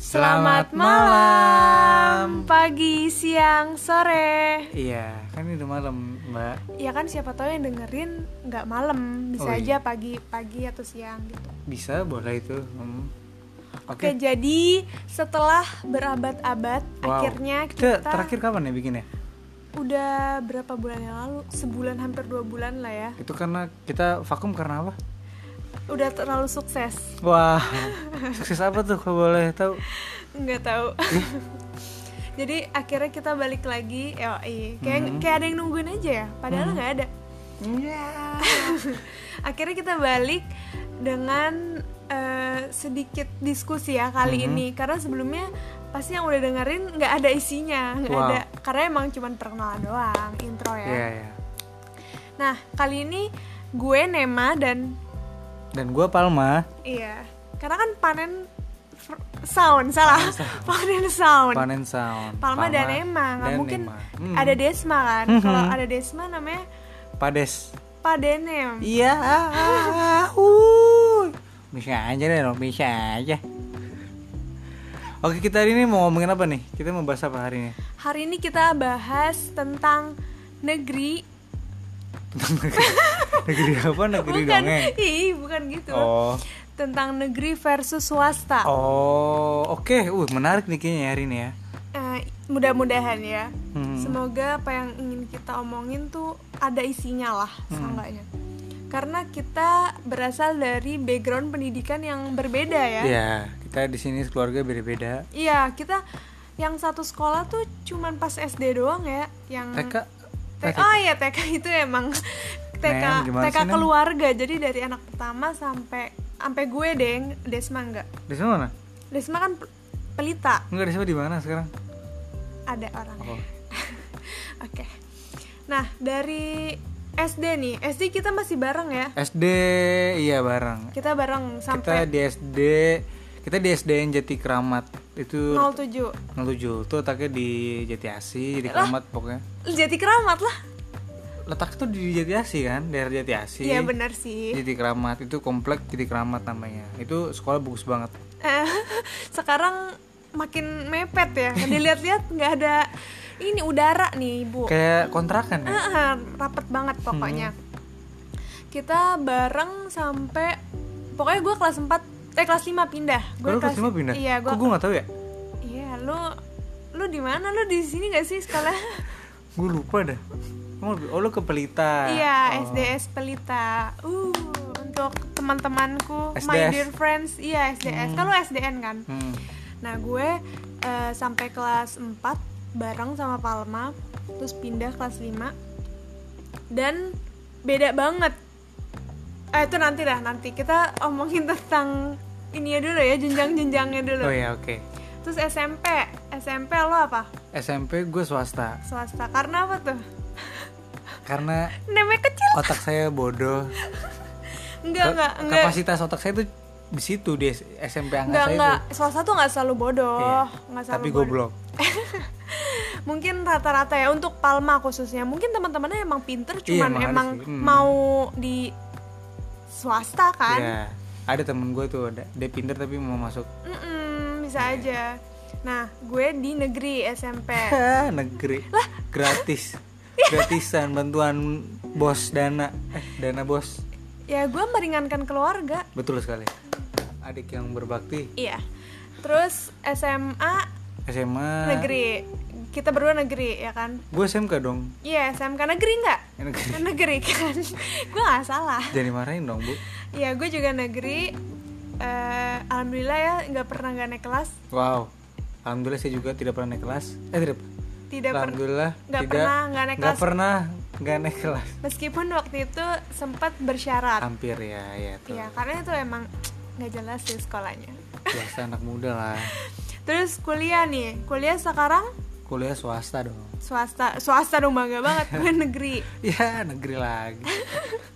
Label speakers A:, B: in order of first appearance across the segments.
A: Selamat malam.
B: Pagi, siang, sore.
A: Iya, kan ini udah malam, Mbak.
B: Ya kan siapa tahu yang dengerin nggak malam, bisa
A: Oh,
B: aja
A: iya.
B: pagi, pagi atau siang gitu.
A: Bisa boleh itu. Hmm.
B: Oke, jadi setelah berabad-abad,
A: Wow.
B: akhirnya
A: kita
B: kita
A: terakhir kapan ya bikinnya?
B: udah berapa bulan yang lalu? Sebulan hampir dua bulan lah ya.
A: Itu karena kita vakum karena apa?
B: Udah terlalu sukses.
A: Wah, sukses apa tuh kalau boleh tahu?
B: Nggak tahu. jadi akhirnya kita balik lagi. Yoi. Kayak
A: Mm-hmm.
B: kayak ada yang nungguin aja ya, padahal nggak ada.
A: Iya.
B: akhirnya kita balik dengan eh, sedikit diskusi ya kali
A: Mm-hmm.
B: ini karena sebelumnya pasti yang udah dengerin nggak ada isinya nggak
A: Wow.
B: ada karena emang cuman perkenalan doang intro ya
A: Iya, iya.
B: nah kali ini gue Nema dan
A: Dan gua Palma,
B: iya karena kan panen fr- sound salah panen sound
A: panen
B: Oh,
A: sound.
B: Palma, dan Nema nggak
A: dan
B: mungkin
A: Nema. Hmm.
B: ada Desma kan
A: Mhm.
B: kalau ada Desma namanya
A: Pades.
B: Padenem
A: Iya. ah, uh. Bisa aja deh, Rob, bisa aja. Oke, kita hari ini mau ngomongin apa nih? Kita mau bahas apa hari ini?
B: hari ini kita bahas tentang negeri
A: negeri apa? Negeri
B: bukan
A: dongeng.
B: ih bukan gitu
A: Oh.
B: tentang negeri versus swasta
A: Oh, oke. Uh, menarik nih kayaknya hari ini ya.
B: Eh, mudah-mudahan ya
A: Hmm.
B: semoga apa yang ingin kita omongin tuh ada isinya lah
A: Hmm.
B: seenggaknya karena kita berasal dari background pendidikan yang berbeda ya
A: Iya, kita di sini keluarga beda-beda.
B: iya kita yang satu sekolah tuh cuman pas SD doang ya yang
A: TK
B: T- oh iya TK itu emang TK
A: Nem, gimana
B: TK
A: sih, Nem?
B: keluarga jadi dari anak pertama sampai sampai gue deng Desma enggak
A: di sana mana?
B: Desma kan pe- pelita
A: Enggak di sana di mana sekarang?
B: ada orang
A: Oh.
B: Oke. Nah, dari SD nih. SD kita masih bareng ya.
A: SD iya bareng.
B: Kita bareng
A: Eh. Kita
B: sampai
A: di SD kita di SDN Jati Keramat. Itu
B: 07.
A: 07 tuh letaknya di Jati Asi, di
B: Lah.
A: Keramat pokoknya.
B: Jati keramat lah.
A: Letak tuh di Jati Asi kan, daerah Jati Asi.
B: Iya benar sih.
A: Jati Keramat itu komplek Jati Keramat namanya. Itu sekolah bagus banget.
B: Eh, Sekarang makin mepet ya. Dilihat-lihat nggak ada ini udara nih, Bu.
A: Kayak kontrakan ya.
B: Ah, rapet banget pokoknya.
A: Hmm.
B: Kita bareng sampai pokoknya gue kelas 4 eh kelas 5 pindah. Gue
A: Baru Oh, kelas lima pindah.
B: Iya,
A: Kok
B: gue
A: gue nggak tahu ya?
B: Iya, lu lu di mana? Lu di sini gak sih sekolah?
A: Gue lupa dah. Emang lebih- Oh lu ke Pelita.
B: Iya,
A: Oh.
B: SDS Pelita. Uh, untuk teman-temanku, my
A: SDS.
B: dear friends, iya SDS. Kalau SDN kan.
A: Hmm.
B: Nah, gue eh, sampai kelas 4 bareng sama Palma, terus pindah kelas 5. Dan beda banget. Eh, itu nanti dah, nanti kita omongin tentang ininya dulu ya, jenjang-jenjangnya dulu.
A: Oh ya oke.
B: Terus SMP, SMP lo apa?
A: SMP gue swasta
B: Swasta. Karena apa tuh?
A: karena
B: Namanya kecil.
A: otak saya bodoh.
B: Enggak,
A: Ka-
B: enggak, enggak.
A: Kapasitas otak saya tuh di situ di S- SMP
B: Enggak,
A: angkat saya
B: enggak.
A: tuh.
B: Salah satu nggak selalu bodoh, nggak selalu
A: Iya. Tapi
B: bodoh.
A: goblok.
B: Mungkin rata-rata ya untuk Palma khususnya. Mungkin teman-temannya emang pinter,
A: Iya,
B: cuman
A: emang ada
B: emang
A: sih. Hmm.
B: mau di swasta kan.
A: Iya. Ada temen gue tuh ada dia pinter tapi mau masuk
B: Mm-mm, bisa
A: Iya.
B: aja. Nah, gue di negeri SMP.
A: Hah, negeri gratis
B: Iya.
A: gratisan bantuan bos dana eh dana bos
B: ya gue meringankan keluarga.
A: betul sekali adik yang berbakti
B: Iya. Terus
A: Ah.
B: SMA
A: SMA
B: negeri. Kita berdua negeri ya kan.
A: gue SMK dong
B: Iya, SMK negeri nggak?
A: Eh, negeri.
B: Negeri kan. gue nggak salah.
A: jangan dimarahin dong bu
B: Ya, gue juga negeri. Eh, Alhamdulillah ya, nggak pernah gak naik kelas.
A: wow alhamdulillah saya juga tidak pernah naik kelas eh tidak
B: Tidak pernah.
A: alhamdulillah
B: nggak
A: tidak
B: pernah nggak naik
A: nggak
B: kelas.
A: pernah nggak naik kelas
B: Meskipun waktu itu sempat bersyarat.
A: hampir ya ya tuh
B: Ya, karena itu emang nggak jelas sih sekolahnya.
A: biasa anak muda lah
B: Terus kuliah nih, kuliah sekarang
A: kuliah swasta dong
B: swasta, swasta dong bangga banget gue negeri.
A: ya negeri lagi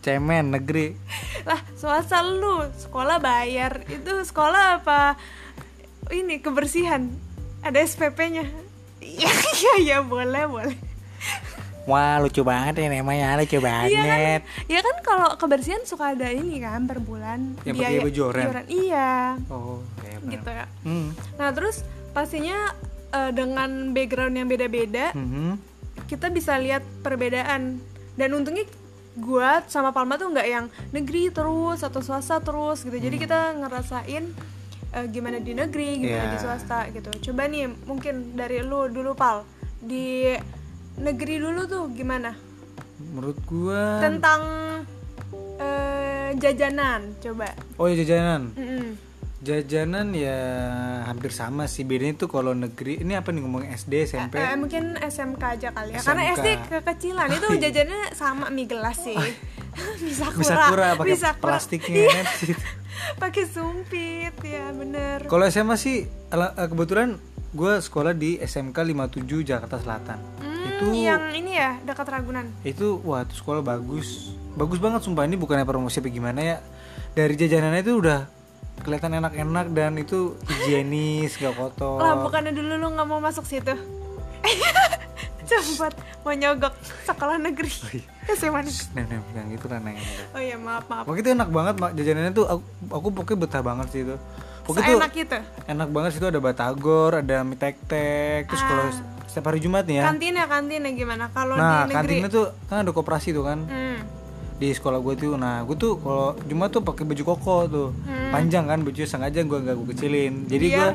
A: cemen negeri
B: Lah, swasta lu sekolah bayar itu sekolah apa? Ini kebersihan, ada SPP-nya. Iya, iya, iya boleh, boleh.
A: Wah lucu banget ini namanya lucu
B: Iya kan,
A: banget.
B: iya kan kalau kebersihan suka ada ini kan per bulan
A: Yang pakai
B: biaya-
A: bejoran.
B: Iya,
A: Oh, kayak bener.
B: gitu ya.
A: Hmm.
B: Nah terus pastinya eh, dengan background yang beda-beda,
A: Mhm.
B: kita bisa lihat perbedaan. Dan untungnya gue sama Palma tuh nggak yang negeri terus atau swasta terus gitu. Jadi kita ngerasain eh, gimana di negeri, gimana
A: Iya.
B: di swasta gitu. Coba nih mungkin dari lu dulu Pal di negeri dulu tuh gimana?
A: Menurut gua.
B: Tentang eh, jajanan coba.
A: Oh ya jajanan.
B: Mm-mm.
A: Jajanan ya hampir sama sih bedanya tuh kalau negeri ini apa nih ngomong SD SMP.
B: Eh, mungkin SMK aja kali ya karena
A: SMK.
B: SD kekecilan itu
A: Oh, iya.
B: jajannya sama mie gelas sih bisa kurang
A: Bisa kura iya. pakai
B: eh, Bisa Iya. kura.
A: plastiknya. kan? Gitu.
B: pakai sumpit ya bener
A: kalau SMA sih ala- eh, kebetulan gua sekolah di SMK 57 Jakarta Selatan.
B: Hmm,
A: itu
B: yang ini ya dekat Ragunan
A: itu wah itu sekolah bagus bagus banget sumpah ini bukannya promosi apa gimana ya dari jajanannya itu udah kelihatan enak-enak dan itu higienis gak kotor
B: lah bukannya dulu lu nggak mau masuk situ cepat mau nyogok sekolah negeri
A: Oh,
B: SMA negeri.
A: Nah, nah, yang itu kan yang enak.
B: oh ya maaf maaf
A: Pokoknya itu enak banget mak jajanannya tuh aku, aku pokoknya betah banget sih itu pokoknya tuh
B: enak gitu
A: enak banget sih itu ada batagor ada mie tek tek terus kalau
B: Ah.
A: setiap hari Jumat nih ya
B: kantinnya kantinnya gimana kalau
A: nah
B: di negeri
A: kantinnya tuh kan ada koperasi tuh kan
B: Hmm.
A: di sekolah gue tuh nah gue tuh kalau Jumat tuh pakai baju koko tuh
B: Hmm.
A: panjang kan bajunya sengaja gue nggak gue kecilin jadi
B: Iya.
A: gue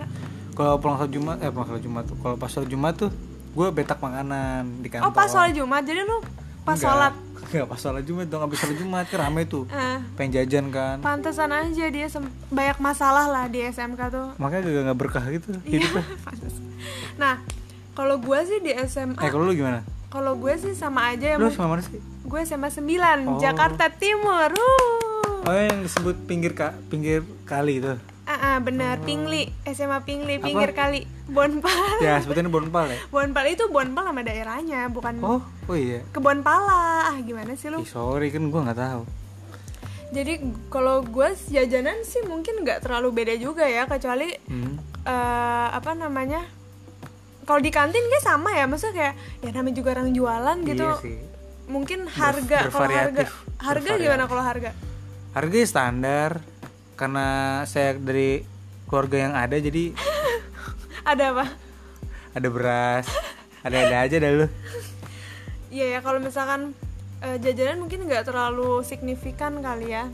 A: kalau pulang sholat Jumat eh pulang sholat Jumat tuh kalau pas sholat Jumat tuh gue betak makanan di
B: oh
A: kantor
B: pas sholat Jumat jadi lu pas
A: Nggak.
B: sholat
A: nggak pas sholat Jumat dong habis sholat Jumat kan rame tuh
B: eh,
A: pengen jajan kan
B: pantesan aja dia sem- banyak masalah lah di SMK tuh
A: makanya gak, gak berkah gitu
B: Iya.
A: hidupnya
B: Pantes. nah kalau gue sih di SMA
A: eh kalau lu gimana
B: kalau gue sih sama aja ya
A: lu sama mana sih
B: gue SMA 9
A: Oh.
B: Jakarta Timur Wuh.
A: oh yang disebut pinggir ka, pinggir kali itu
B: ah ah, bener Pingli SMA Pingli pinggir kali Bonpal
A: ya sebetulnya Bonpal ya
B: Bonpal itu Bonpal nama daerahnya bukan
A: oh oh iya
B: Kebonpala ah gimana sih lu
A: Ih, sorry kan gue nggak tahu
B: jadi kalau gue jajanan sih mungkin nggak terlalu beda juga ya kecuali
A: hmm.
B: eh, apa namanya kalau di kantin kayak sama ya maksudnya kayak ya namanya juga orang jualan gitu
A: iya sih
B: mungkin harga kalau harga
A: bervariatif.
B: harga gimana kalau harga
A: harganya ya standar karena saya dari keluarga yang ada jadi
B: ada apa
A: ada beras ada ada aja dah lu
B: iya ya kalau misalkan eh, jajanan mungkin nggak terlalu signifikan kali ya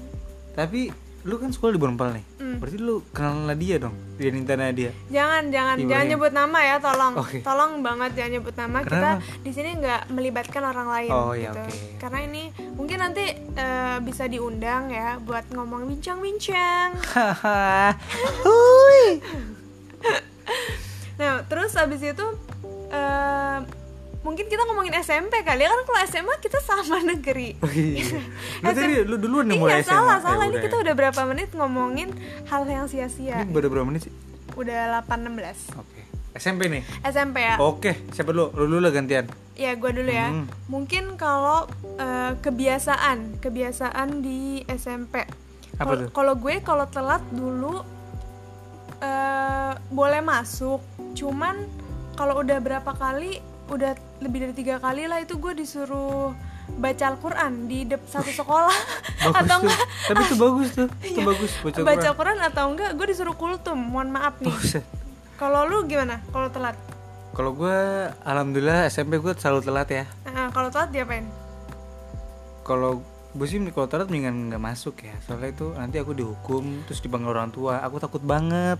A: tapi lu kan sekolah di Bonpal nih
B: Hmm.
A: berarti lu kenal Nadia dong dia Ninta Nadia
B: jangan jangan
A: Iya,
B: jangan
A: boleh.
B: nyebut nama ya tolong
A: Oke.
B: tolong banget jangan nyebut nama kita di sini nggak melibatkan orang lain
A: Oh, iya,
B: gitu
A: oke.
B: karena ini mungkin nanti eh, bisa diundang ya buat ngomong bincang-bincang
A: hahaha Hui.
B: Nah, terus abis itu eh, mungkin kita ngomongin SMP kali ya kan kalau SMA kita sama negeri.
A: Oh, iya. lu tadi lu duluan nih mulai
B: Iya salah
A: SMA. Eh,
B: salah ini
A: udah
B: kita
A: ya.
B: udah berapa menit ngomongin hal yang sia-sia.
A: ini baru berapa menit sih
B: Udah 8.16.
A: oke SMP nih
B: SMP ya.
A: oke siapa dulu lu dulu lah gantian
B: Ya gue dulu ya.
A: Hmm.
B: Mungkin kalau eh, kebiasaan kebiasaan di SMP.
A: Apa
B: Kalau-
A: tuh?
B: Kalau gue kalau telat dulu eh boleh masuk, cuman kalau udah berapa kali, udah lebih dari tiga kali lah itu gue disuruh baca Al-Quran di dep- satu sekolah
A: bagus
B: atau
A: tuh
B: enggak Iya.
A: tapi itu bagus tuh itu bagus baca
B: baca
A: Quran.
B: Quran atau enggak gue disuruh kultum mohon maaf nih
A: Buset.
B: kalau lu gimana kalau telat
A: Kalau gue, alhamdulillah SMP gue selalu telat ya.
B: Eh, kalau telat diapain
A: Kalau gue sih kalau telat mendingan nggak masuk ya. Soalnya itu nanti aku dihukum, terus dipanggil orang tua. Aku takut banget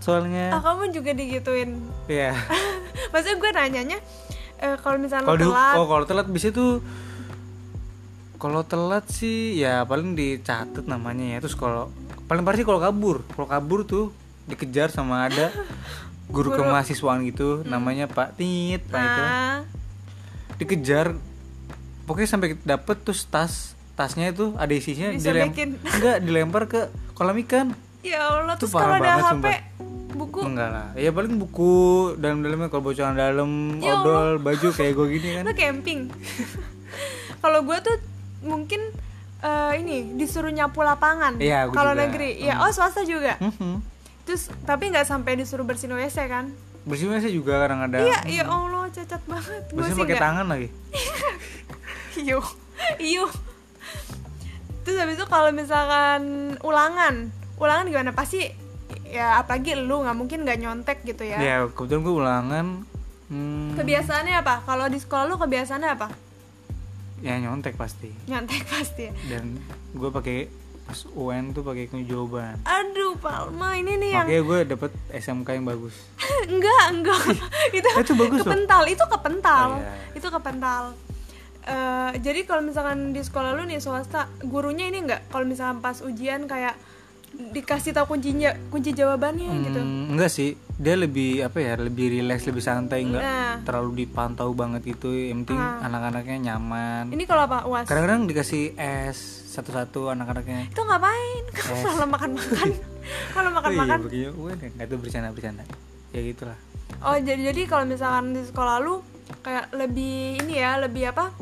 B: ah
A: soalnya.
B: kamu juga digituin
A: Iya.
B: Maksudnya gue nanyanya eh, kalau misalnya
A: Kalau
B: lu
A: dihukum,
B: telat,
A: oh, kalau telat bisa tuh. Kalau telat sih ya paling dicatat namanya ya. Terus kalau paling parah sih kalau kabur. Kalau kabur tuh dikejar sama ada guru, kemahasiswaan
B: Hmm.
A: gitu. Namanya Pak Tit, Pak itu.
B: nah,
A: dikejar pokoknya sampai dapet terus tas tasnya itu ada isinya dilem-
B: Disobekin.
A: enggak dilempar ke kolam ikan
B: ya Allah
A: Itu
B: terus
A: parah
B: kalau ada
A: banget,
B: HP
A: sumpah.
B: buku
A: enggak lah ya paling buku dalam-dalamnya kalau bocoran dalam
B: Ya
A: odol baju kayak gue gini kan
B: lu camping kalau gue tuh mungkin eh, ini disuruh nyapu lapangan
A: Iya, gue
B: kalau
A: juga.
B: negeri ya oh swasta juga
A: Mhm.
B: terus tapi nggak sampai disuruh bersihin WC kan
A: bersihnya sih juga kadang ada
B: iya ya Allah cacat banget gue
A: bersih
B: sih
A: pakai
B: nggak
A: tangan lagi
B: Iyo. Iyo. Terus habis itu kalau misalkan ulangan, ulangan gimana? Pasti ya apalagi lu nggak mungkin nggak nyontek gitu ya.
A: ya kebetulan gue ulangan hmm,
B: Kebiasaannya apa? Kalau di sekolah lu kebiasaannya apa?
A: ya nyontek pasti
B: Nyontek pasti. Ya.
A: dan gue pakai pas UN tuh pakai kunci jawaban
B: Aduh, Palma ini nih Iya, yang
A: makanya gue dapet SMK yang bagus
B: enggak, enggak. itu
A: Eh, itu bagus loh.
B: kepental, itu kepental.
A: Oh, iya.
B: Itu kepental. Eh, jadi kalau misalkan di sekolah lu nih swasta, gurunya ini enggak kalau misalkan pas ujian kayak dikasih tahu kuncinya kunci jawabannya gitu.
A: Hmm, enggak sih dia lebih apa ya lebih rileks lebih santai enggak
B: Nah.
A: terlalu dipantau banget gitu yang penting anak-anaknya nyaman
B: Ah. Ini kalau apa? UAS.
A: kadang-kadang dikasih es satu-satu anak-anaknya
B: Itu ngapain? Kalau makan-makan. Kalau makan-makan.
A: oh, iya, begini UN ya? nggak tuh bercanda-bercanda ya gitulah
B: Oh, jadi jadi kalau misalkan di sekolah lu kayak lebih ini ya, lebih apa?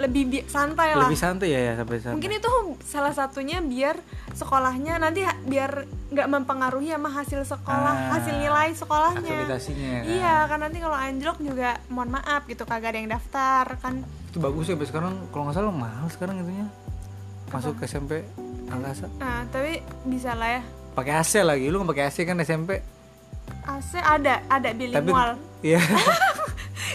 B: Lebih bi- santai Iya lah.
A: lebih santai ya, ya sampai sana
B: Mungkin itu salah satunya biar sekolahnya nanti ha- biar nggak mempengaruhi sama hasil sekolah,
A: Ah,
B: hasil nilai sekolahnya.
A: akreditasinya kan.
B: Iya, kan nanti kalau anjlok juga mohon maaf gitu kagak ada yang daftar kan.
A: itu bagus ya sampai sekarang kalau nggak salah mahal sekarang itunya masuk ke SMP angkasa
B: Nah, tapi bisa lah ya.
A: pakai AC lagi lu nggak pakai AC kan SMP
B: AC ada, ada bilingual.
A: iya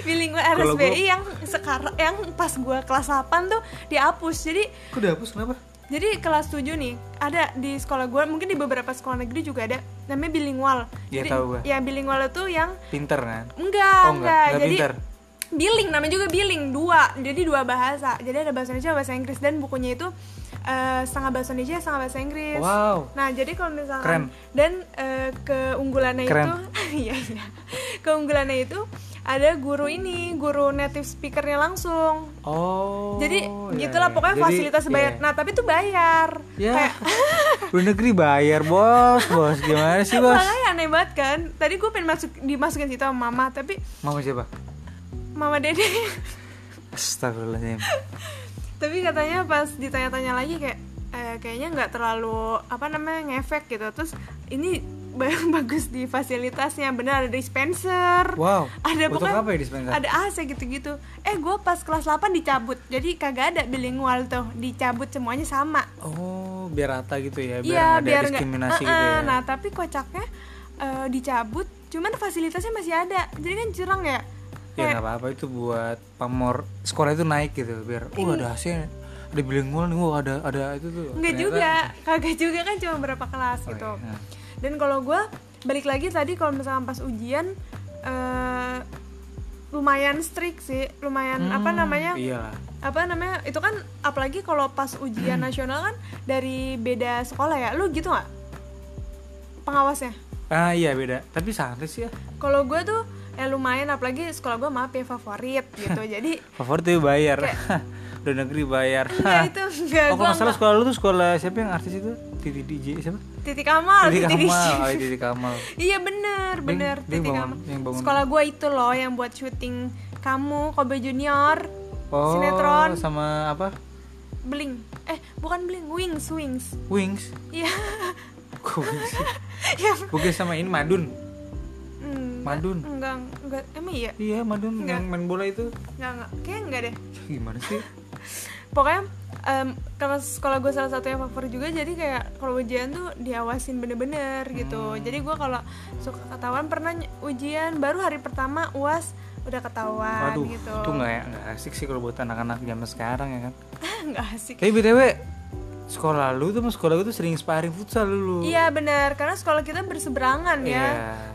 B: bilingual
A: Kalau
B: RSBI yang sekarang yang pas gua kelas 8 tuh dihapus jadi
A: kok dihapus kenapa
B: jadi kelas 7 nih ada di sekolah gua mungkin di beberapa sekolah negeri juga ada namanya bilingual
A: Iya,
B: Jadi,
A: tahu gua.
B: ya bilingual itu yang
A: pinter kan
B: enggak
A: Oh, enggak.
B: enggak,
A: Enggak
B: jadi
A: pintar.
B: biling namanya juga biling dua jadi dua bahasa jadi ada bahasa Indonesia bahasa Inggris dan bukunya itu eh, setengah bahasa Indonesia setengah bahasa Inggris
A: wow
B: Nah, jadi kalau
A: Keren.
B: misalkan dan eh, keunggulannya
A: Keren.
B: itu iya iya. Keunggulannya itu ada guru ini, guru native speakernya langsung.
A: oh
B: jadi
A: iya,
B: gitulah
A: iya.
B: pokoknya
A: Jadi,
B: fasilitas bayar.
A: iya.
B: Nah, tapi itu bayar.
A: ya
B: Kayak
A: lu negeri bayar bos bos gimana sih bos
B: makanya aneh banget kan. Tadi gue pengen masuk dimasukin situ sama mama, tapi
A: mama siapa
B: mama dede
A: Astagfirullahaladzim
B: tapi katanya pas ditanya-tanya lagi kayak eh, kayaknya nggak terlalu apa namanya ngefek gitu. Terus ini bagus di fasilitasnya benar ada dispenser.
A: Wow
B: ada
A: Untuk
B: pokoknya-
A: apa ya dispenser?
B: ada AC gitu-gitu eh gue pas kelas 8 dicabut jadi kagak ada bilingual tuh dicabut semuanya sama
A: Oh biar rata gitu ya Biar
B: iya
A: nggak ada
B: biar nggak
A: diskriminasi
B: Eh,
A: gitu
B: eh,
A: ya
B: nah tapi kocaknya eh, dicabut cuman fasilitasnya masih ada jadi kan curang ya
A: Ya nggak
B: Kayak,
A: apa-apa itu buat pamor skornya itu naik gitu biar oh ada hasilnya ada bilingual nih wah ada ada itu tuh.
B: Iya. nggak
A: Ternyata-
B: juga kagak juga kan cuma berapa kelas
A: Oh,
B: gitu
A: iya, nah.
B: dan kalau gue balik lagi tadi kalau misalkan pas ujian eh, lumayan strict sih lumayan apa
A: Hmm,
B: namanya
A: Iyalah.
B: apa namanya itu kan apalagi kalau pas ujian
A: Hmm.
B: nasional kan dari beda sekolah ya lu gitu nggak pengawasnya
A: Ah iya beda. Tapi santai sih ya.
B: kalau gue tuh ya lumayan apalagi sekolah gue maaf ya favorit gitu jadi
A: Favorit tuh bayar. Udah negeri bayar.
B: enggak ya itu enggak
A: Oh
B: gue
A: kalau nggak salah sekolah lu tuh sekolah siapa yang artis itu? Titi DJ siapa?
B: titik amal
A: Titi
B: titik
A: Kamal. Oh, Titi Kamal.
B: iya bener bener
A: dia
B: titik
A: bangun-
B: amal
A: yang bangun-
B: sekolah gue itu loh yang buat syuting kamu Kobe Junior
A: Oh,
B: Sinetron.
A: sama apa?
B: Bling eh bukan Bling Wings Wings
A: Wings.
B: iya
A: Kok Wings sih?
B: yang
A: Bukan sama ini Madun.
B: Hmm,
A: Madun.
B: enggak enggak emang iya
A: Iya Madun
B: Nggak.
A: yang main bola itu.
B: enggak enggak kayaknya enggak deh
A: Gimana sih?
B: pokoknya em, karena sekolah gue salah satu yang favorit juga jadi kayak kalau ujian tuh diawasin bener-bener gitu
A: Hmm.
B: jadi gue kalau suka ketahuan pernah ny- ujian baru hari pertama uas udah ketahuan
A: Waduh,
B: gitu
A: itu nggak ya, nggak asik sih kalau buat anak-anak zaman sekarang ya kan.
B: nggak asik
A: Tapi btw, sekolah lu tuh sama sekolah gue tuh sering sparring futsal dulu.
B: iya bener karena sekolah kita berseberangan
A: Iya.
B: ya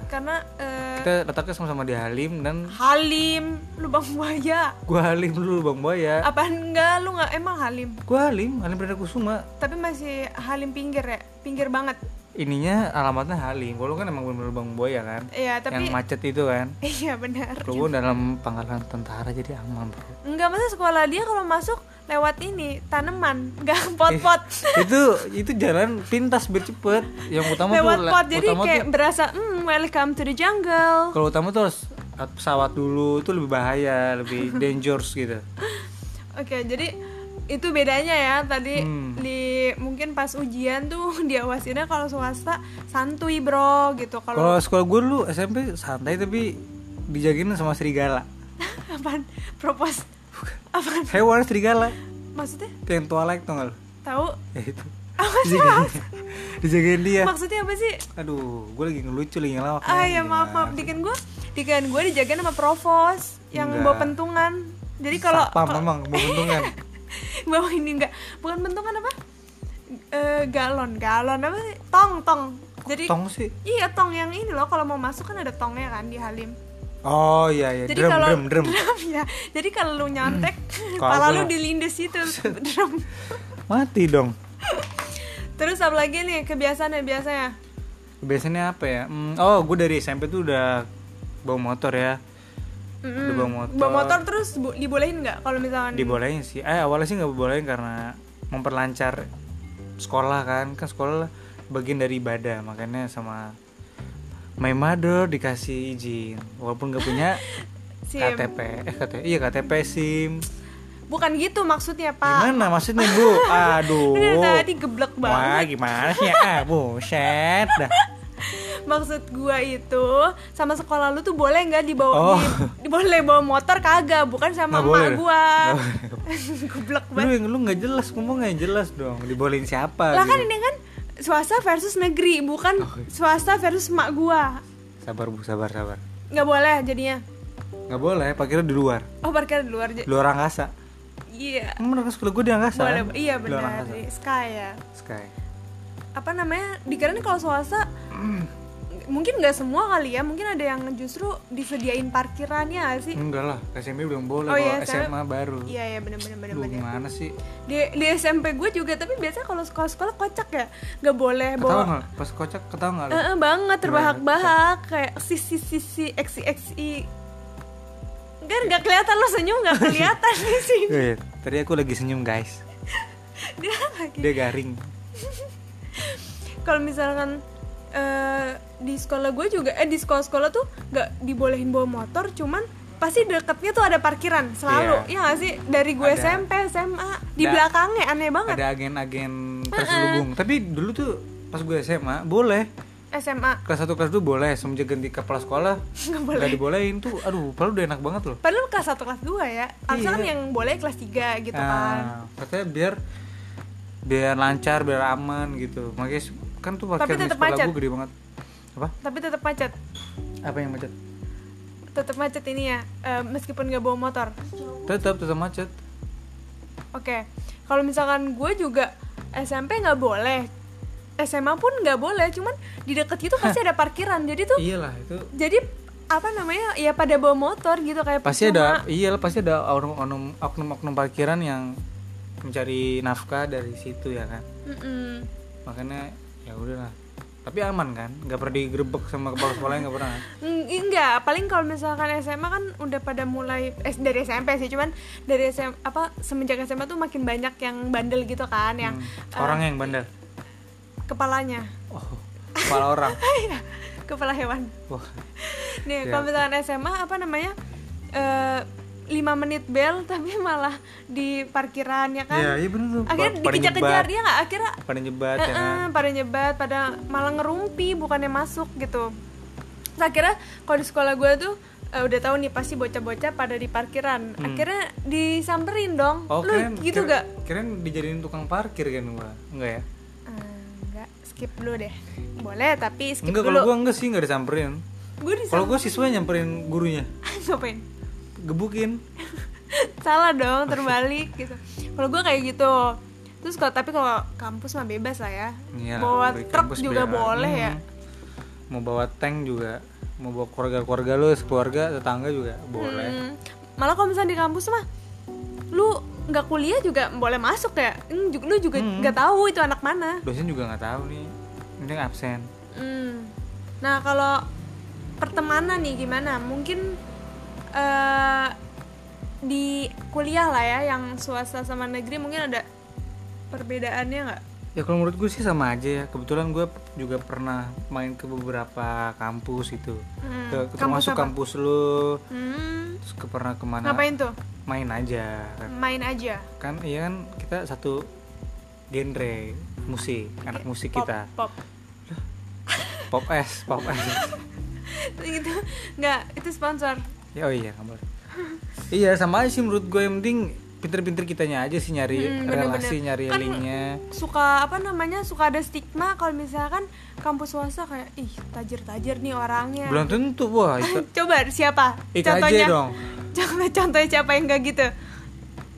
B: karena eh,
A: Kita letaknya sama-sama di Halim dan
B: Halim lubang buaya
A: gua Halim dulu Bang Boya.
B: apa enggak lu nggak emang Halim
A: Gua Halim, Halim Perdana Kusuma.
B: tapi masih Halim pinggir ya pinggir banget
A: Ininya alamatnya Halim. Kalau lu kan emang bener-bener Bang Boya kan.
B: iya
A: Yang
B: tapi
A: macet itu kan.
B: iya benar
A: Kalau gua dalam pangkalan tentara jadi aman bro.
B: Enggak, masa sekolah dia kalau masuk lewat ini tanaman, enggak pot-pot.
A: itu itu jalan pintas biar cepet. Yang utama
B: lewat
A: tuh
B: pot jadi
A: utama tuh-
B: kayak berasa hmm, welcome to the jungle.
A: Oh. kalau utama tuh harus lewat pesawat dulu itu lebih bahaya, lebih dangerous gitu.
B: Oke, jadi itu bedanya ya tadi
A: Hmm.
B: di mungkin pas ujian tuh diawasinnya kalau swasta santuy bro gitu kalau
A: Kalau sekolah gue dulu SMP santai tapi dijagain sama serigala.
B: apaan propose
A: Hewan serigala.
B: Maksudnya?
A: Itu yang tualek tau gak lu?
B: Tahu?
A: Ya itu.
B: Apa sih
A: Dijagain, dijagain dia.
B: Maksudnya apa sih?
A: Aduh, gue lagi ngelucu lagi ngelawak.
B: Ah
A: nih,
B: ya maaf
A: gimana?
B: maaf dikan gue dikan gue dijagain sama provos yang
A: Enggak.
B: bawa pentungan. Jadi kalau
A: Satpam emang kan? mau untungan.
B: bawa ini enggak bukan pentungan apa? Eh, galon galon apa sih? Tong tong. Jadi
A: Tong sih.
B: iya tong yang ini loh kalau mau masuk kan ada tongnya kan di Halim.
A: Oh iya iya.
B: Jadi
A: Drum,
B: kalau
A: drum drum Hmm.
B: ya. Jadi kalau lu nyontek,
A: Kalau ya.
B: kepala
A: gua-
B: lu dilindes itu drum.
A: Mati dong.
B: Terus apa lagi nih kebiasaan yang biasanya?
A: Biasanya apa ya? Hmm, oh, gue dari SMP tuh udah bawa motor ya.
B: Mm-mm.
A: Udah bawa motor.
B: Bawa motor terus bu- dibolehin nggak kalau misalkan
A: Dibolehin sih. Eh awalnya sih nggak dibolehin karena memperlancar sekolah kan. Kan sekolah bagian dari ibadah makanya sama my mother dikasih izin walaupun nggak punya
B: SIM?
A: KTP eh KTP iya KTP SIM
B: Bukan gitu maksudnya, Pak.
A: gimana Oh. maksudnya bu aduh
B: Ini dari tadi geblek
A: Wah
B: banget.
A: gimana sih ya ah, buset dah
B: Maksud gua itu sama sekolah lu tuh boleh nggak dibawa
A: Oh.
B: di, boleh bawa motor kagak, bukan sama
A: Nggak boleh.
B: emak gua.
A: Nggak
B: geblek
A: lu
B: banget.
A: yang lu nggak jelas ngomong nggak jelas dong dibolehin siapa
B: Lah kan
A: gitu.
B: ini kan swasta versus negeri, bukan
A: Oh, iya.
B: swasta versus emak gua.
A: sabar bu sabar sabar
B: Nggak boleh jadinya.
A: nggak boleh parkirnya di luar
B: Oh, parkir di luar.
A: di
B: aja.
A: luar angkasa
B: Iya.
A: emang bener kan sekolah gue di angkasa
B: Boleh.
A: kan?
B: Iya
A: Di luar
B: benar.
A: angkasa.
B: Sky ya.
A: sky
B: Apa namanya? Dikirain kalau swasta
A: Hmm.
B: mungkin nggak semua kali ya mungkin ada yang justru disediain parkirannya nggak sih
A: enggak lah SMP belum boleh
B: Oh,
A: kalau
B: iya,
A: SMA,
B: SMP.
A: baru
B: Iya ya bener bener bener
A: Hmm. Lu
B: bener.
A: gimana sih
B: Di, di SMP gue juga tapi biasanya kalau sekolah sekolah kocak ya nggak boleh
A: ketawa
B: bawa
A: nggak pas kocak ketawa nggak lu
B: Eh, eh, banget terbahak-bahak kayak si si si si xi xi Enggak, nggak kelihatan lo senyum nggak kelihatan di sini.
A: Eh, tadi aku lagi senyum guys
B: Dia lagi.
A: dia garing
B: Kalau misalkan eh, di sekolah gue juga eh di sekolah-sekolah tuh nggak dibolehin bawa motor, cuman pasti deketnya tuh ada parkiran selalu.
A: Iya.
B: Iya nggak sih? Dari gue
A: Ada.
B: SMP, SMA di
A: Ada.
B: belakangnya aneh banget.
A: ada agen-agen
B: Eh,
A: terselubung tapi dulu tuh pas gue SMA boleh
B: SMA
A: kelas 1 kelas 2 boleh semenjak ganti kepala sekolah
B: nggak boleh.
A: nggak dibolehin tuh aduh padahal udah enak banget loh
B: Padahal kelas 1 kelas 2 ya. Harusnya kan
A: Iya.
B: yang boleh kelas 3 gitu kan.
A: nah, katanya biar biar lancar biar aman gitu makanya se- kan tuh
B: Tapi
A: parkir di
B: tetep
A: sekolah
B: macet.
A: gue gede banget apa
B: Tapi tetap macet.
A: apa yang macet
B: Tetap macet ini ya. eh, meskipun nggak bawa motor.
A: tetap tetap macet
B: Oke. Kalau misalkan gue juga SMP nggak boleh. SMA pun nggak boleh, cuman di deket itu pasti ada parkiran. Jadi tuh
A: iyalah itu
B: jadi apa namanya? Ya pada bawa motor gitu kayak
A: pasti
B: percuma.
A: ada iyalah pasti ada oknum oknum oknum oknum parkiran yang mencari nafkah dari situ ya kan
B: Mm-mm.
A: makanya ya udahlah tapi aman kan nggak pernah digerebek sama kepala sekolahnya nggak pernah kan?
B: Eng- enggak paling kalau misalkan SMA kan udah pada mulai eh, dari SMP sih cuman dari SMA apa semenjak SMA tuh makin banyak yang bandel gitu kan yang
A: Hmm.
B: eh,
A: orang yang bandel
B: kepalanya Iya,
A: oh kepala orang
B: kepala hewan
A: wah
B: nih
A: Iya.
B: kalau misalkan SMA apa namanya eh, lima menit bel tapi malah di parkiran ya kan
A: Iya, iya bener tuh.
B: akhirnya
A: Pada
B: dikejar-kejar
A: nyebat.
B: dia nggak akhirnya
A: pada nyebat ya
B: eh,
A: kan
B: eh, pada nyebat pada malah ngerumpi bukannya masuk gitu Terus akhirnya kalau di sekolah gue tuh eh, udah tahu nih pasti bocah-bocah pada di parkiran akhirnya disamperin dong
A: Hmm. oh
B: lu
A: keren
B: gitu gak
A: keren dijadiin tukang parkir kan gua enggak ya
B: enggak skip dulu deh boleh tapi skip
A: enggak kalau
B: dulu
A: gua enggak sih enggak disamperin
B: gue
A: kalau gua siswa nyamperin gurunya
B: ngapain
A: gebukin
B: salah dong terbalik gitu kalau gue kayak gitu terus kalau tapi kalau kampus mah bebas lah ya
A: Iya,
B: bawa
A: dari
B: truk
A: kampus
B: juga
A: biar-
B: boleh ya
A: Hmm. mau bawa tank juga mau bawa keluarga-keluarga lu sekeluarga tetangga juga boleh
B: Hmm, malah kalau misalnya di kampus mah lu nggak kuliah juga boleh masuk ya Hmm, ju- lu juga nggak tahu itu anak mana
A: dosen juga nggak tahu nih mending absen
B: Hmm. nah kalau pertemanan nih gimana mungkin eh, di kuliah lah ya yang swasta sama negeri mungkin ada perbedaannya nggak
A: ya kalau menurut gue sih sama aja ya kebetulan gue juga pernah main ke beberapa kampus gitu
B: Hmm,
A: Ke-
B: kampus
A: termasuk
B: apa?
A: kampus lu
B: Hmm,
A: terus ke pernah kemana
B: ngapain tuh
A: main aja
B: main aja
A: kan iya kan kita satu genre musik anak musik
B: pop
A: kita
B: pop
A: pop es pop es
B: gitu nggak itu sponsor
A: ya oh iya kabar iya sama aja sih menurut gue yang penting pinter-pinter kitanya aja sih nyari
B: Hmm, bener-bener.
A: relasi nyari
B: Kan-
A: linknya
B: suka apa namanya suka ada stigma kalau misalkan kampus swasta kayak ih tajir-tajir nih orangnya
A: belum tentu wah Ika,
B: coba siapa
A: Ika aja dong
B: contoh contohnya siapa yang gak gitu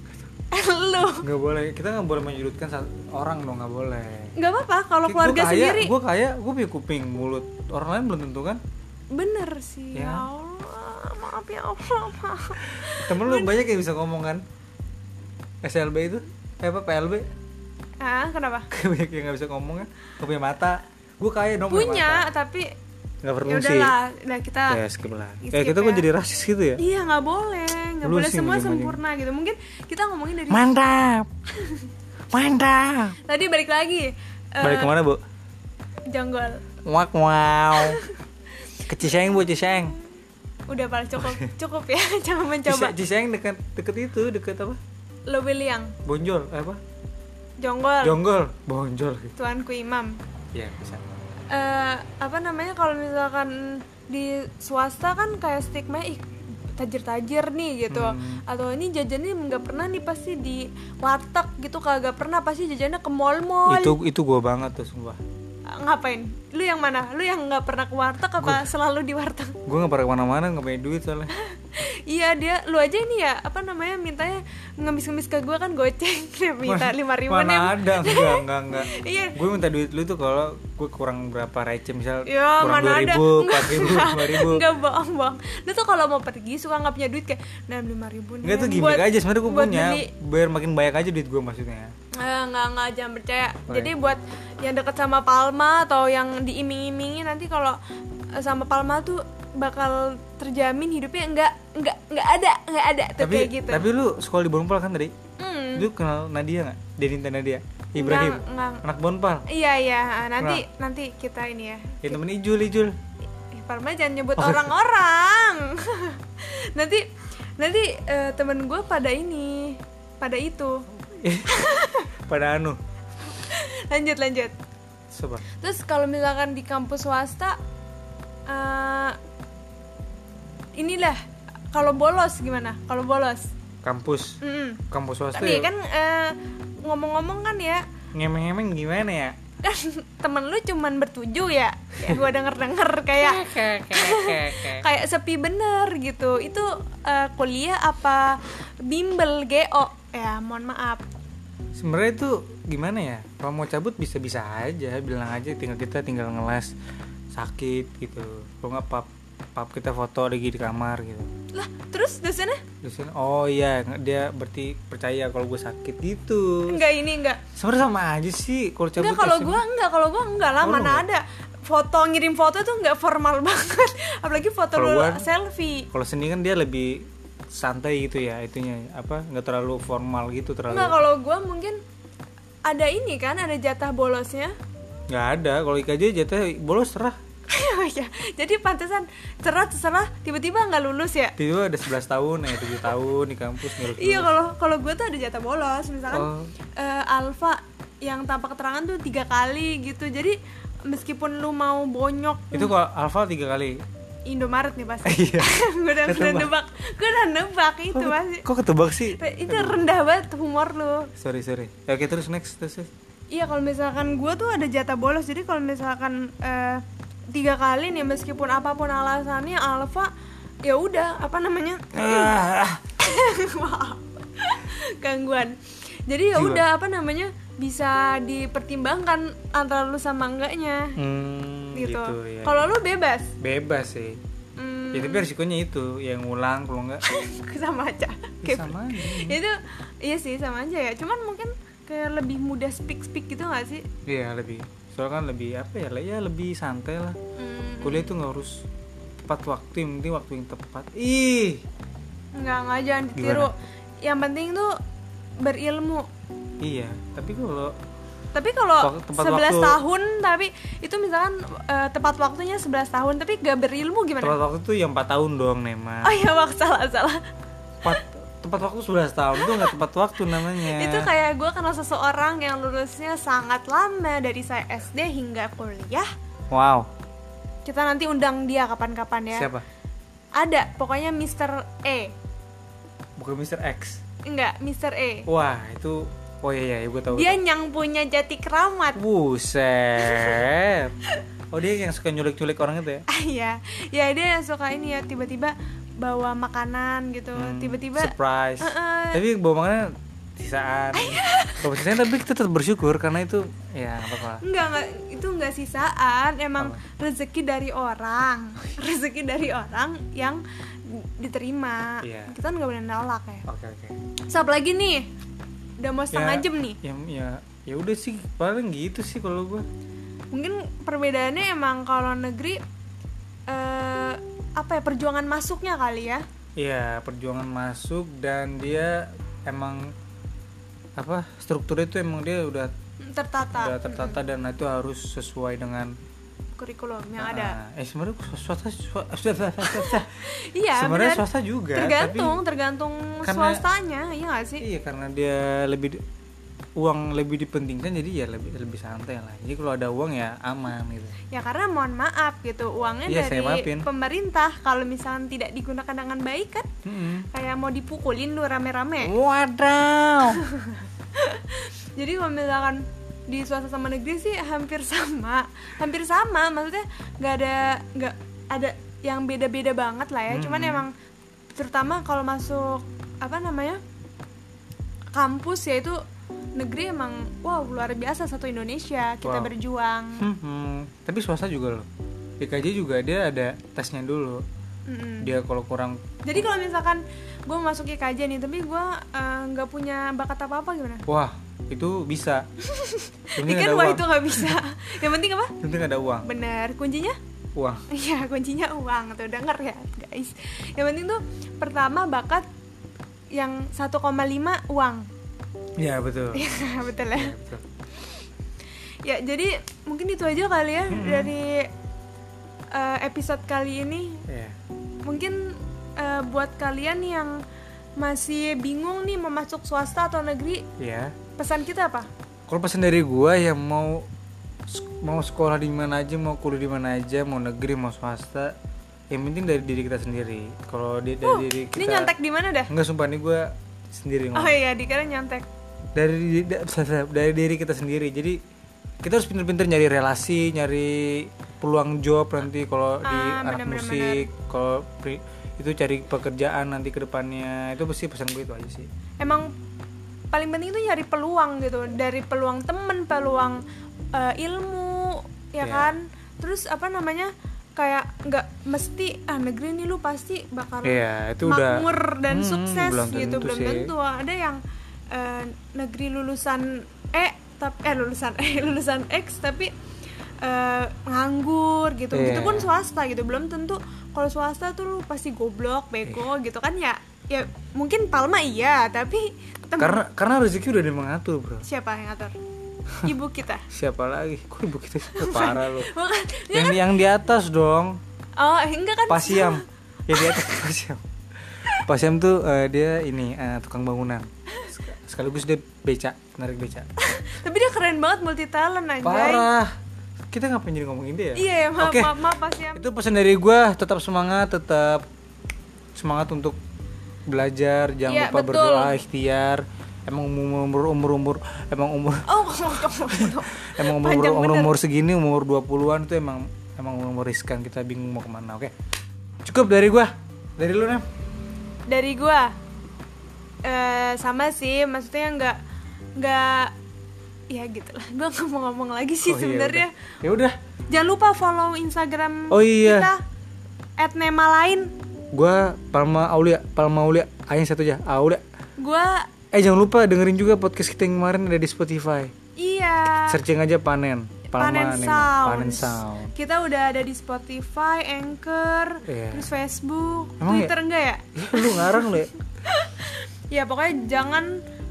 B: lu
A: nggak boleh kita nggak boleh menyudutkan satu orang dong nggak boleh
B: nggak apa-apa kalau keluarga
A: gue kaya,
B: sendiri
A: gue kaya gue punya kuping mulut orang lain belum tentu kan
B: bener sih ya.
A: Ya.
B: Allah maaf ya Allah maaf
A: temen lu banyak yang bisa ngomong kan SLB itu eh apa PLB
B: ah kenapa
A: banyak yang nggak bisa ngomong kan gue punya mata gue kaya dong
B: punya tapi
A: mata. nggak perlu
B: ya
A: sih
B: udahlah nah kita
A: ya skip lah
B: Skip
A: eh kita kok
B: ya.
A: jadi rasis gitu ya
B: Iya nggak boleh, nggak
A: Lu
B: boleh
A: sih
B: semua
A: mending-mending.
B: sempurna gitu. Mungkin kita ngomongin dari
A: mantap mantap
B: tadi balik lagi eh,
A: balik kemana bu
B: Jonggol.
A: wak wow ke Ciseng bu Ciseng
B: Udah pal cukup cukup ya, jangan mencoba.
A: Cise- Ciseng dekat deket itu deket apa
B: Lo William,
A: Bonjol eh, apa
B: Jonggol,
A: Jonggol Bonjol
B: Tuanku Imam.
A: ya bisa
B: Eh, apa namanya kalau misalkan di swasta kan kayak stigma ih tajir-tajir nih gitu
A: Hmm.
B: atau ini jajannya nggak pernah nih pasti di warteg gitu kagak pernah pasti jajannya ke mall-mall
A: itu itu gue banget tuh sumpah
B: ngapain lu yang mana lu yang nggak pernah ke warteg apa selalu di warteg
A: gue nggak pernah kemana-mana nggak punya duit soalnya
B: iya dia lu aja ini ya apa namanya mintanya ngemis-ngemis ke gue kan goceng dia minta lima ribu
A: mana
B: nih
A: ada enggak enggak enggak
B: Iya.
A: gue minta duit lu tuh kalau gue kurang berapa receh misal
B: Ya,
A: kurang
B: mana
A: dua
B: ada.
A: ribu empat ribu lima ribu
B: nggak bohong bohong lu tuh kalau mau pergi suka nggak punya duit kayak enam lima ribu nih
A: enggak tuh
B: buat-
A: gimmick aja sebenarnya gue
B: buat
A: punya
B: beli."
A: biar makin banyak aja duit gue maksudnya
B: Eh, nggak nggak jangan percaya
A: Baik.
B: jadi buat yang deket sama Palma atau yang diiming-imingi nanti kalau eh, sama Palma tuh bakal terjamin hidupnya nggak nggak nggak ada nggak ada tuh
A: tapi nah
B: kayak gitu
A: tapi lu sekolah di Bonpal kan tadi
B: Hmm.
A: lu kenal Nadia nggak Deninta Nadia Ibrahim
B: Nggak, nggak.
A: anak Bonpal
B: Iya iya nanti
A: Nah.
B: nanti kita ini ya.
A: ya temen Ijul Ijul
B: Ih, Parma jangan nyebut orang-orang. nanti nanti eh, temen gue pada ini pada itu.
A: pada Anu
B: Lanjut lanjut.
A: coba
B: Terus kalau misalkan di kampus swasta, eh, inilah kalau bolos gimana? Kalau bolos,
A: kampus
B: Mm-mm.
A: kampus swasta
B: Nih,
A: ya,
B: kan eh, ngomong-ngomong kan ya
A: ngemeng-ngemeng gimana ya
B: kan temen lu cuman bertujuh ya, ya gue denger denger kayak kayak sepi bener gitu itu eh, kuliah apa bimbel geo ya mohon maaf
A: sebenarnya itu gimana ya kalau mau cabut bisa bisa aja bilang aja tinggal kita tinggal ngeles sakit gitu kalau nggak pap pap kita foto lagi di kamar gitu
B: lah terus dosennya
A: terus kan, oh iya nge- dia berarti percaya kalau gue sakit gitu
B: enggak ini enggak
A: sebenarnya sama aja sih kalau cabut ya
B: enggak kalau
A: pasti-
B: gua enggak kalau gua enggak lah
A: Oh,
B: mana
A: enggak?
B: ada foto ngirim foto tuh enggak formal banget apalagi foto
A: Kalau
B: lu
A: gua-
B: selfie
A: kalau seni kan dia lebih santai gitu ya itunya apa nggak terlalu formal gitu
B: enggak
A: terlalu
B: kalau gua mungkin ada ini kan ada jatah bolosnya
A: nggak ada kalau IKJ jatuh bolos serah
B: Oh iya. jadi pantesan cerah cerah tiba-tiba nggak lulus ya
A: tiba ada 11 tahun ya 7 tahun di kampus ngelus
B: Iya kalau kalau gue tuh ada jatah bolos misalkan
A: Oh.
B: eh, alfa yang tanpa keterangan tuh tiga kali gitu jadi meskipun lu mau bonyok
A: itu kalau alfa tiga kali
B: Indomaret nih pasti
A: Iya. Oh.
B: gue udah, udah nebak gue udah nebak itu
A: Kok-
B: pasti
A: Kok ketebak sih?
B: itu rendah banget humor lu
A: Sorry, sorry. Ya, Oke, terus next, terus. terus.
B: iya kalau misalkan gue tuh ada jatah bolos jadi kalau misalkan eh, tiga kali nih meskipun apapun alasannya alfa ya udah apa namanya
A: Ah,
B: Maaf. gangguan jadi ya
A: Jiwa.
B: udah apa namanya bisa dipertimbangkan antara lu sama enggaknya
A: hmm,
B: gitu,
A: gitu. ya.
B: kalau lu bebas
A: Bebas sih.
B: hmm,
A: Ya, tapi resikonya itu yang ngulang kalau enggak
B: sama aja
A: ya
B: Kayak-
A: sama aja.
B: itu iya sih sama aja ya cuman mungkin kayak lebih mudah speak speak gitu gak sih
A: Iya, lebih. Soalnya kan lebih apa ya? lah, Ya lebih santai lah.
B: Hmm,
A: Kuliah itu nggak harus tepat waktu, yang penting waktu yang tepat. Ih,
B: nggak nggak jangan ditiru yang penting tuh berilmu
A: iya. Tapi kalau
B: tapi kalau
A: Tok- tempat
B: 11
A: waktu-
B: tahun tapi itu misalkan eh, tepat waktunya 11 tahun tapi gak berilmu gimana
A: tepat waktu tuh yang 4 tahun doang, Nema.
B: Oh iya, wak salah salah.
A: Tepat tepat waktu 11 tahun tuh nggak tepat waktu namanya.
B: Itu kayak gue kenal seseorang yang lulusnya sangat lama dari saya SD hingga kuliah.
A: Wow.
B: Kita nanti undang dia kapan-kapan ya.
A: Siapa?
B: Ada, pokoknya Mr. E.
A: Bukan Mr. X.
B: Enggak, Mr. E.
A: Wah, itu oh iya iya gue tahu.
B: Dia yang punya jati keramat.
A: Buset. Oh dia yang suka nyulik-nyulik orang itu ya?
B: Ah, ya, ya dia yang suka ini ya tiba-tiba bawa makanan gitu,
A: Hmm,
B: tiba-tiba Eh,
A: surprise.
B: Heeh.
A: Tapi bawa makanan sisaan.
B: Iya.
A: Kalau sisaan tapi kita tetap bersyukur karena itu ya nggak apa-apa.
B: Enggak, enggak, itu enggak sisaan, emang rezeki dari orang. Rezeki dari orang yang diterima.
A: Iya.
B: Kita nggak boleh nolak ya.
A: Oke oke.
B: Stop lagi nih. Udah mau setengah
A: Ya,
B: jam nih.
A: Ya ya ya udah sih paling gitu sih kalau gue.
B: Mungkin perbedaannya emang kalau negeri eh apa ya perjuangan masuknya kali ya.
A: Iya perjuangan masuk dan dia emang apa strukturnya itu emang dia udah udah
B: Tertata
A: tertata dan itu harus sesuai dengan
B: kurikulum yang ada.
A: Ah, eh sebenarnya swasta swa- swasta swasta
B: Iya,
A: sebenarnya
B: benar.
A: swasta juga
B: tergantung,
A: tapi
B: tergantung
A: karena-
B: swastanya, iya gak sih?
A: iya karena dia lebih di- uang lebih dipentingkan jadi ya lebih lebih santai lah jadi kalau ada uang ya aman gitu
B: Ya karena mohon maaf gitu, uangnya
A: Iya,
B: dari
A: saya maafin.
B: pemerintah kalau misalnya tidak digunakan dengan baik kan
A: Mm-mm.
B: kayak mau dipukulin lu
A: Iya.
B: rame-rame.
A: Wadaw
B: Jadi kalau misalkan di swasta sama negeri sih hampir sama, hampir sama. Maksudnya nggak ada nggak ada yang beda-beda banget lah ya.
A: Hmm,
B: Cuman emang terutama kalau masuk apa namanya kampus ya itu negeri emang wow luar biasa satu Indonesia kita
A: Wow.
B: berjuang.
A: Mm-mm. tapi swasta juga loh DKJ juga dia ada tesnya dulu
B: Mm-mm.
A: dia kalau kurang
B: Jadi kalau misalkan gue masuk IKJ nih, tapi gue eh, nggak punya bakat apa apa gimana?
A: wah itu bisa Yang penting
B: Ikan
A: ada
B: wah
A: uang
B: itu nggak bisa. Yang penting apa?
A: Yang penting ada uang
B: Bener, kuncinya?
A: uang
B: Iya, kuncinya uang tuh denger ya guys. Yang penting tuh pertama bakat yang 1,5 uang.
A: ya betul
B: Iya, betul ya.
A: Ya, betul.
B: Ya jadi mungkin itu aja kali ya dari eh, episode kali ini.
A: Ya.
B: Mungkin eh, buat kalian yang masih bingung nih mau masuk swasta atau negeri,
A: ya
B: pesan kita apa?
A: Kalau pesan dari gua yang mau mau sekolah di mana aja, mau kuliah di mana aja, mau negeri, mau swasta, yang penting dari diri kita sendiri. Kalau di- dari
B: Uh,
A: diri kita,
B: Ini nyontek di mana dah?
A: enggak sumpah nih gua
B: Oh
A: sendiri ngomong.
B: iya, dikira nyontek.
A: Dari di- da- dari diri kita sendiri. Jadi kita harus pinter-pinter nyari relasi, nyari peluang job nanti kalau di
B: Ah,
A: anak
B: bener-bener.
A: musik, kalau pri- itu cari pekerjaan nanti ke depannya. Itu pasti pesan gue itu aja sih.
B: Emang paling penting itu nyari peluang gitu, dari peluang temen, peluang eh, ilmu, ya
A: Iya.
B: kan? Terus apa namanya? Kayak nggak mesti ah negeri nih lu pasti bakal
A: Iya, itu udah
B: makmur dan
A: Hmm,
B: sukses
A: belum
B: gitu
A: tentu
B: belum
A: sih.
B: tentu ada yang eh, negeri lulusan E tapi eh lulusan E lulusan X tapi eh, nganggur gitu
A: Iya.
B: gitu pun swasta gitu belum tentu kalau swasta tuh lu pasti goblok
A: Iya.
B: bego gitu kan ya ya mungkin Palma iya tapi tem-
A: Karena karena rezeki udah ada yang mengatur, Bro.
B: siapa yang ngatur ibu kita
A: siapa lagi kok ibu kita sih? parah lo
B: bukan
A: yang yang di atas dong
B: oh enggak Iya kan
A: pasiam ya di atas pasiam pasiam tuh eh, dia ini eh, tukang bangunan Sek- sekaligus dia beca narik beca
B: tapi dia keren banget multi talent anjay
A: parah kita ngapain jadi ngomongin dia
B: iya ya, maaf,
A: Oke,
B: maaf maaf pasiam
A: itu pesan dari gue tetap semangat tetap semangat untuk belajar jangan
B: Iya,
A: lupa
B: betul.
A: berdoa ikhtiar emang umur umur umur umur emang umur
B: oh ngomong-ngomong.
A: emang umur
B: Panjang
A: umur,
B: bener.
A: umur segini umur 20-an tuh emang emang umur riskan kita bingung mau kemana oke cukup dari gua dari
B: Iya,
A: lu Oh, iya, nem
B: dari gua eh sama sih maksudnya nggak nggak ya gitulah gua nggak mau ngomong lagi sih
A: Oh, iya,
B: sebenarnya
A: udah. ya udah
B: jangan lupa follow instagram
A: Oh, iya.
B: kita at nema lain
A: gua Palma Aulia Palma Aulia aja satu aja Aulia
B: gua
A: eh jangan lupa dengerin juga podcast kita yang kemarin ada di Spotify
B: iya
A: searching aja panen Palma
B: panen
A: Nema.
B: sound
A: panen sound
B: kita udah ada di spotify anchor
A: Iya.
B: terus facebook
A: Emang
B: twitter enggak ya
A: lu ngarang lu ya
B: ya pokoknya jangan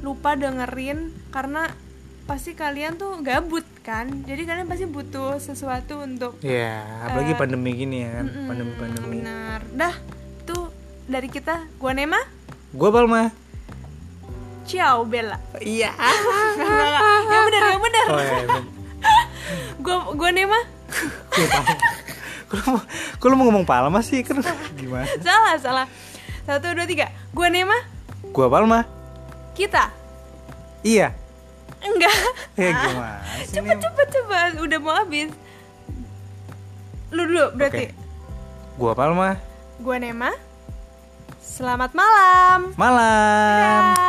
B: lupa dengerin karena pasti kalian tuh gabut kan jadi kalian pasti butuh sesuatu untuk
A: Iya, apalagi pandemi gini ya kan pandemi pandemi
B: Benar. Dah, tuh dari kita. Gua Nema.
A: gua Palma
B: Ciao Bella.
A: iya
B: yang benar, yang benar.
A: oh, iya, iya.
B: Gua gua Nema.
A: Iya, Palma. Kok lu mau- Kok lu mau ngomong Palma sih? Kan gimana?
B: Salah, salah. Satu, dua, tiga. Gua Nema.
A: Gua Palma.
B: Kita?
A: Iya.
B: Enggak.
A: Ya gimana? sih
B: Cepet
A: ini?
B: cepet cepet. Udah mau habis. Lu dulu berarti.
A: Oke. Gua Palma.
B: Gua Nema. Selamat malam.
A: Malam.
B: Dadah.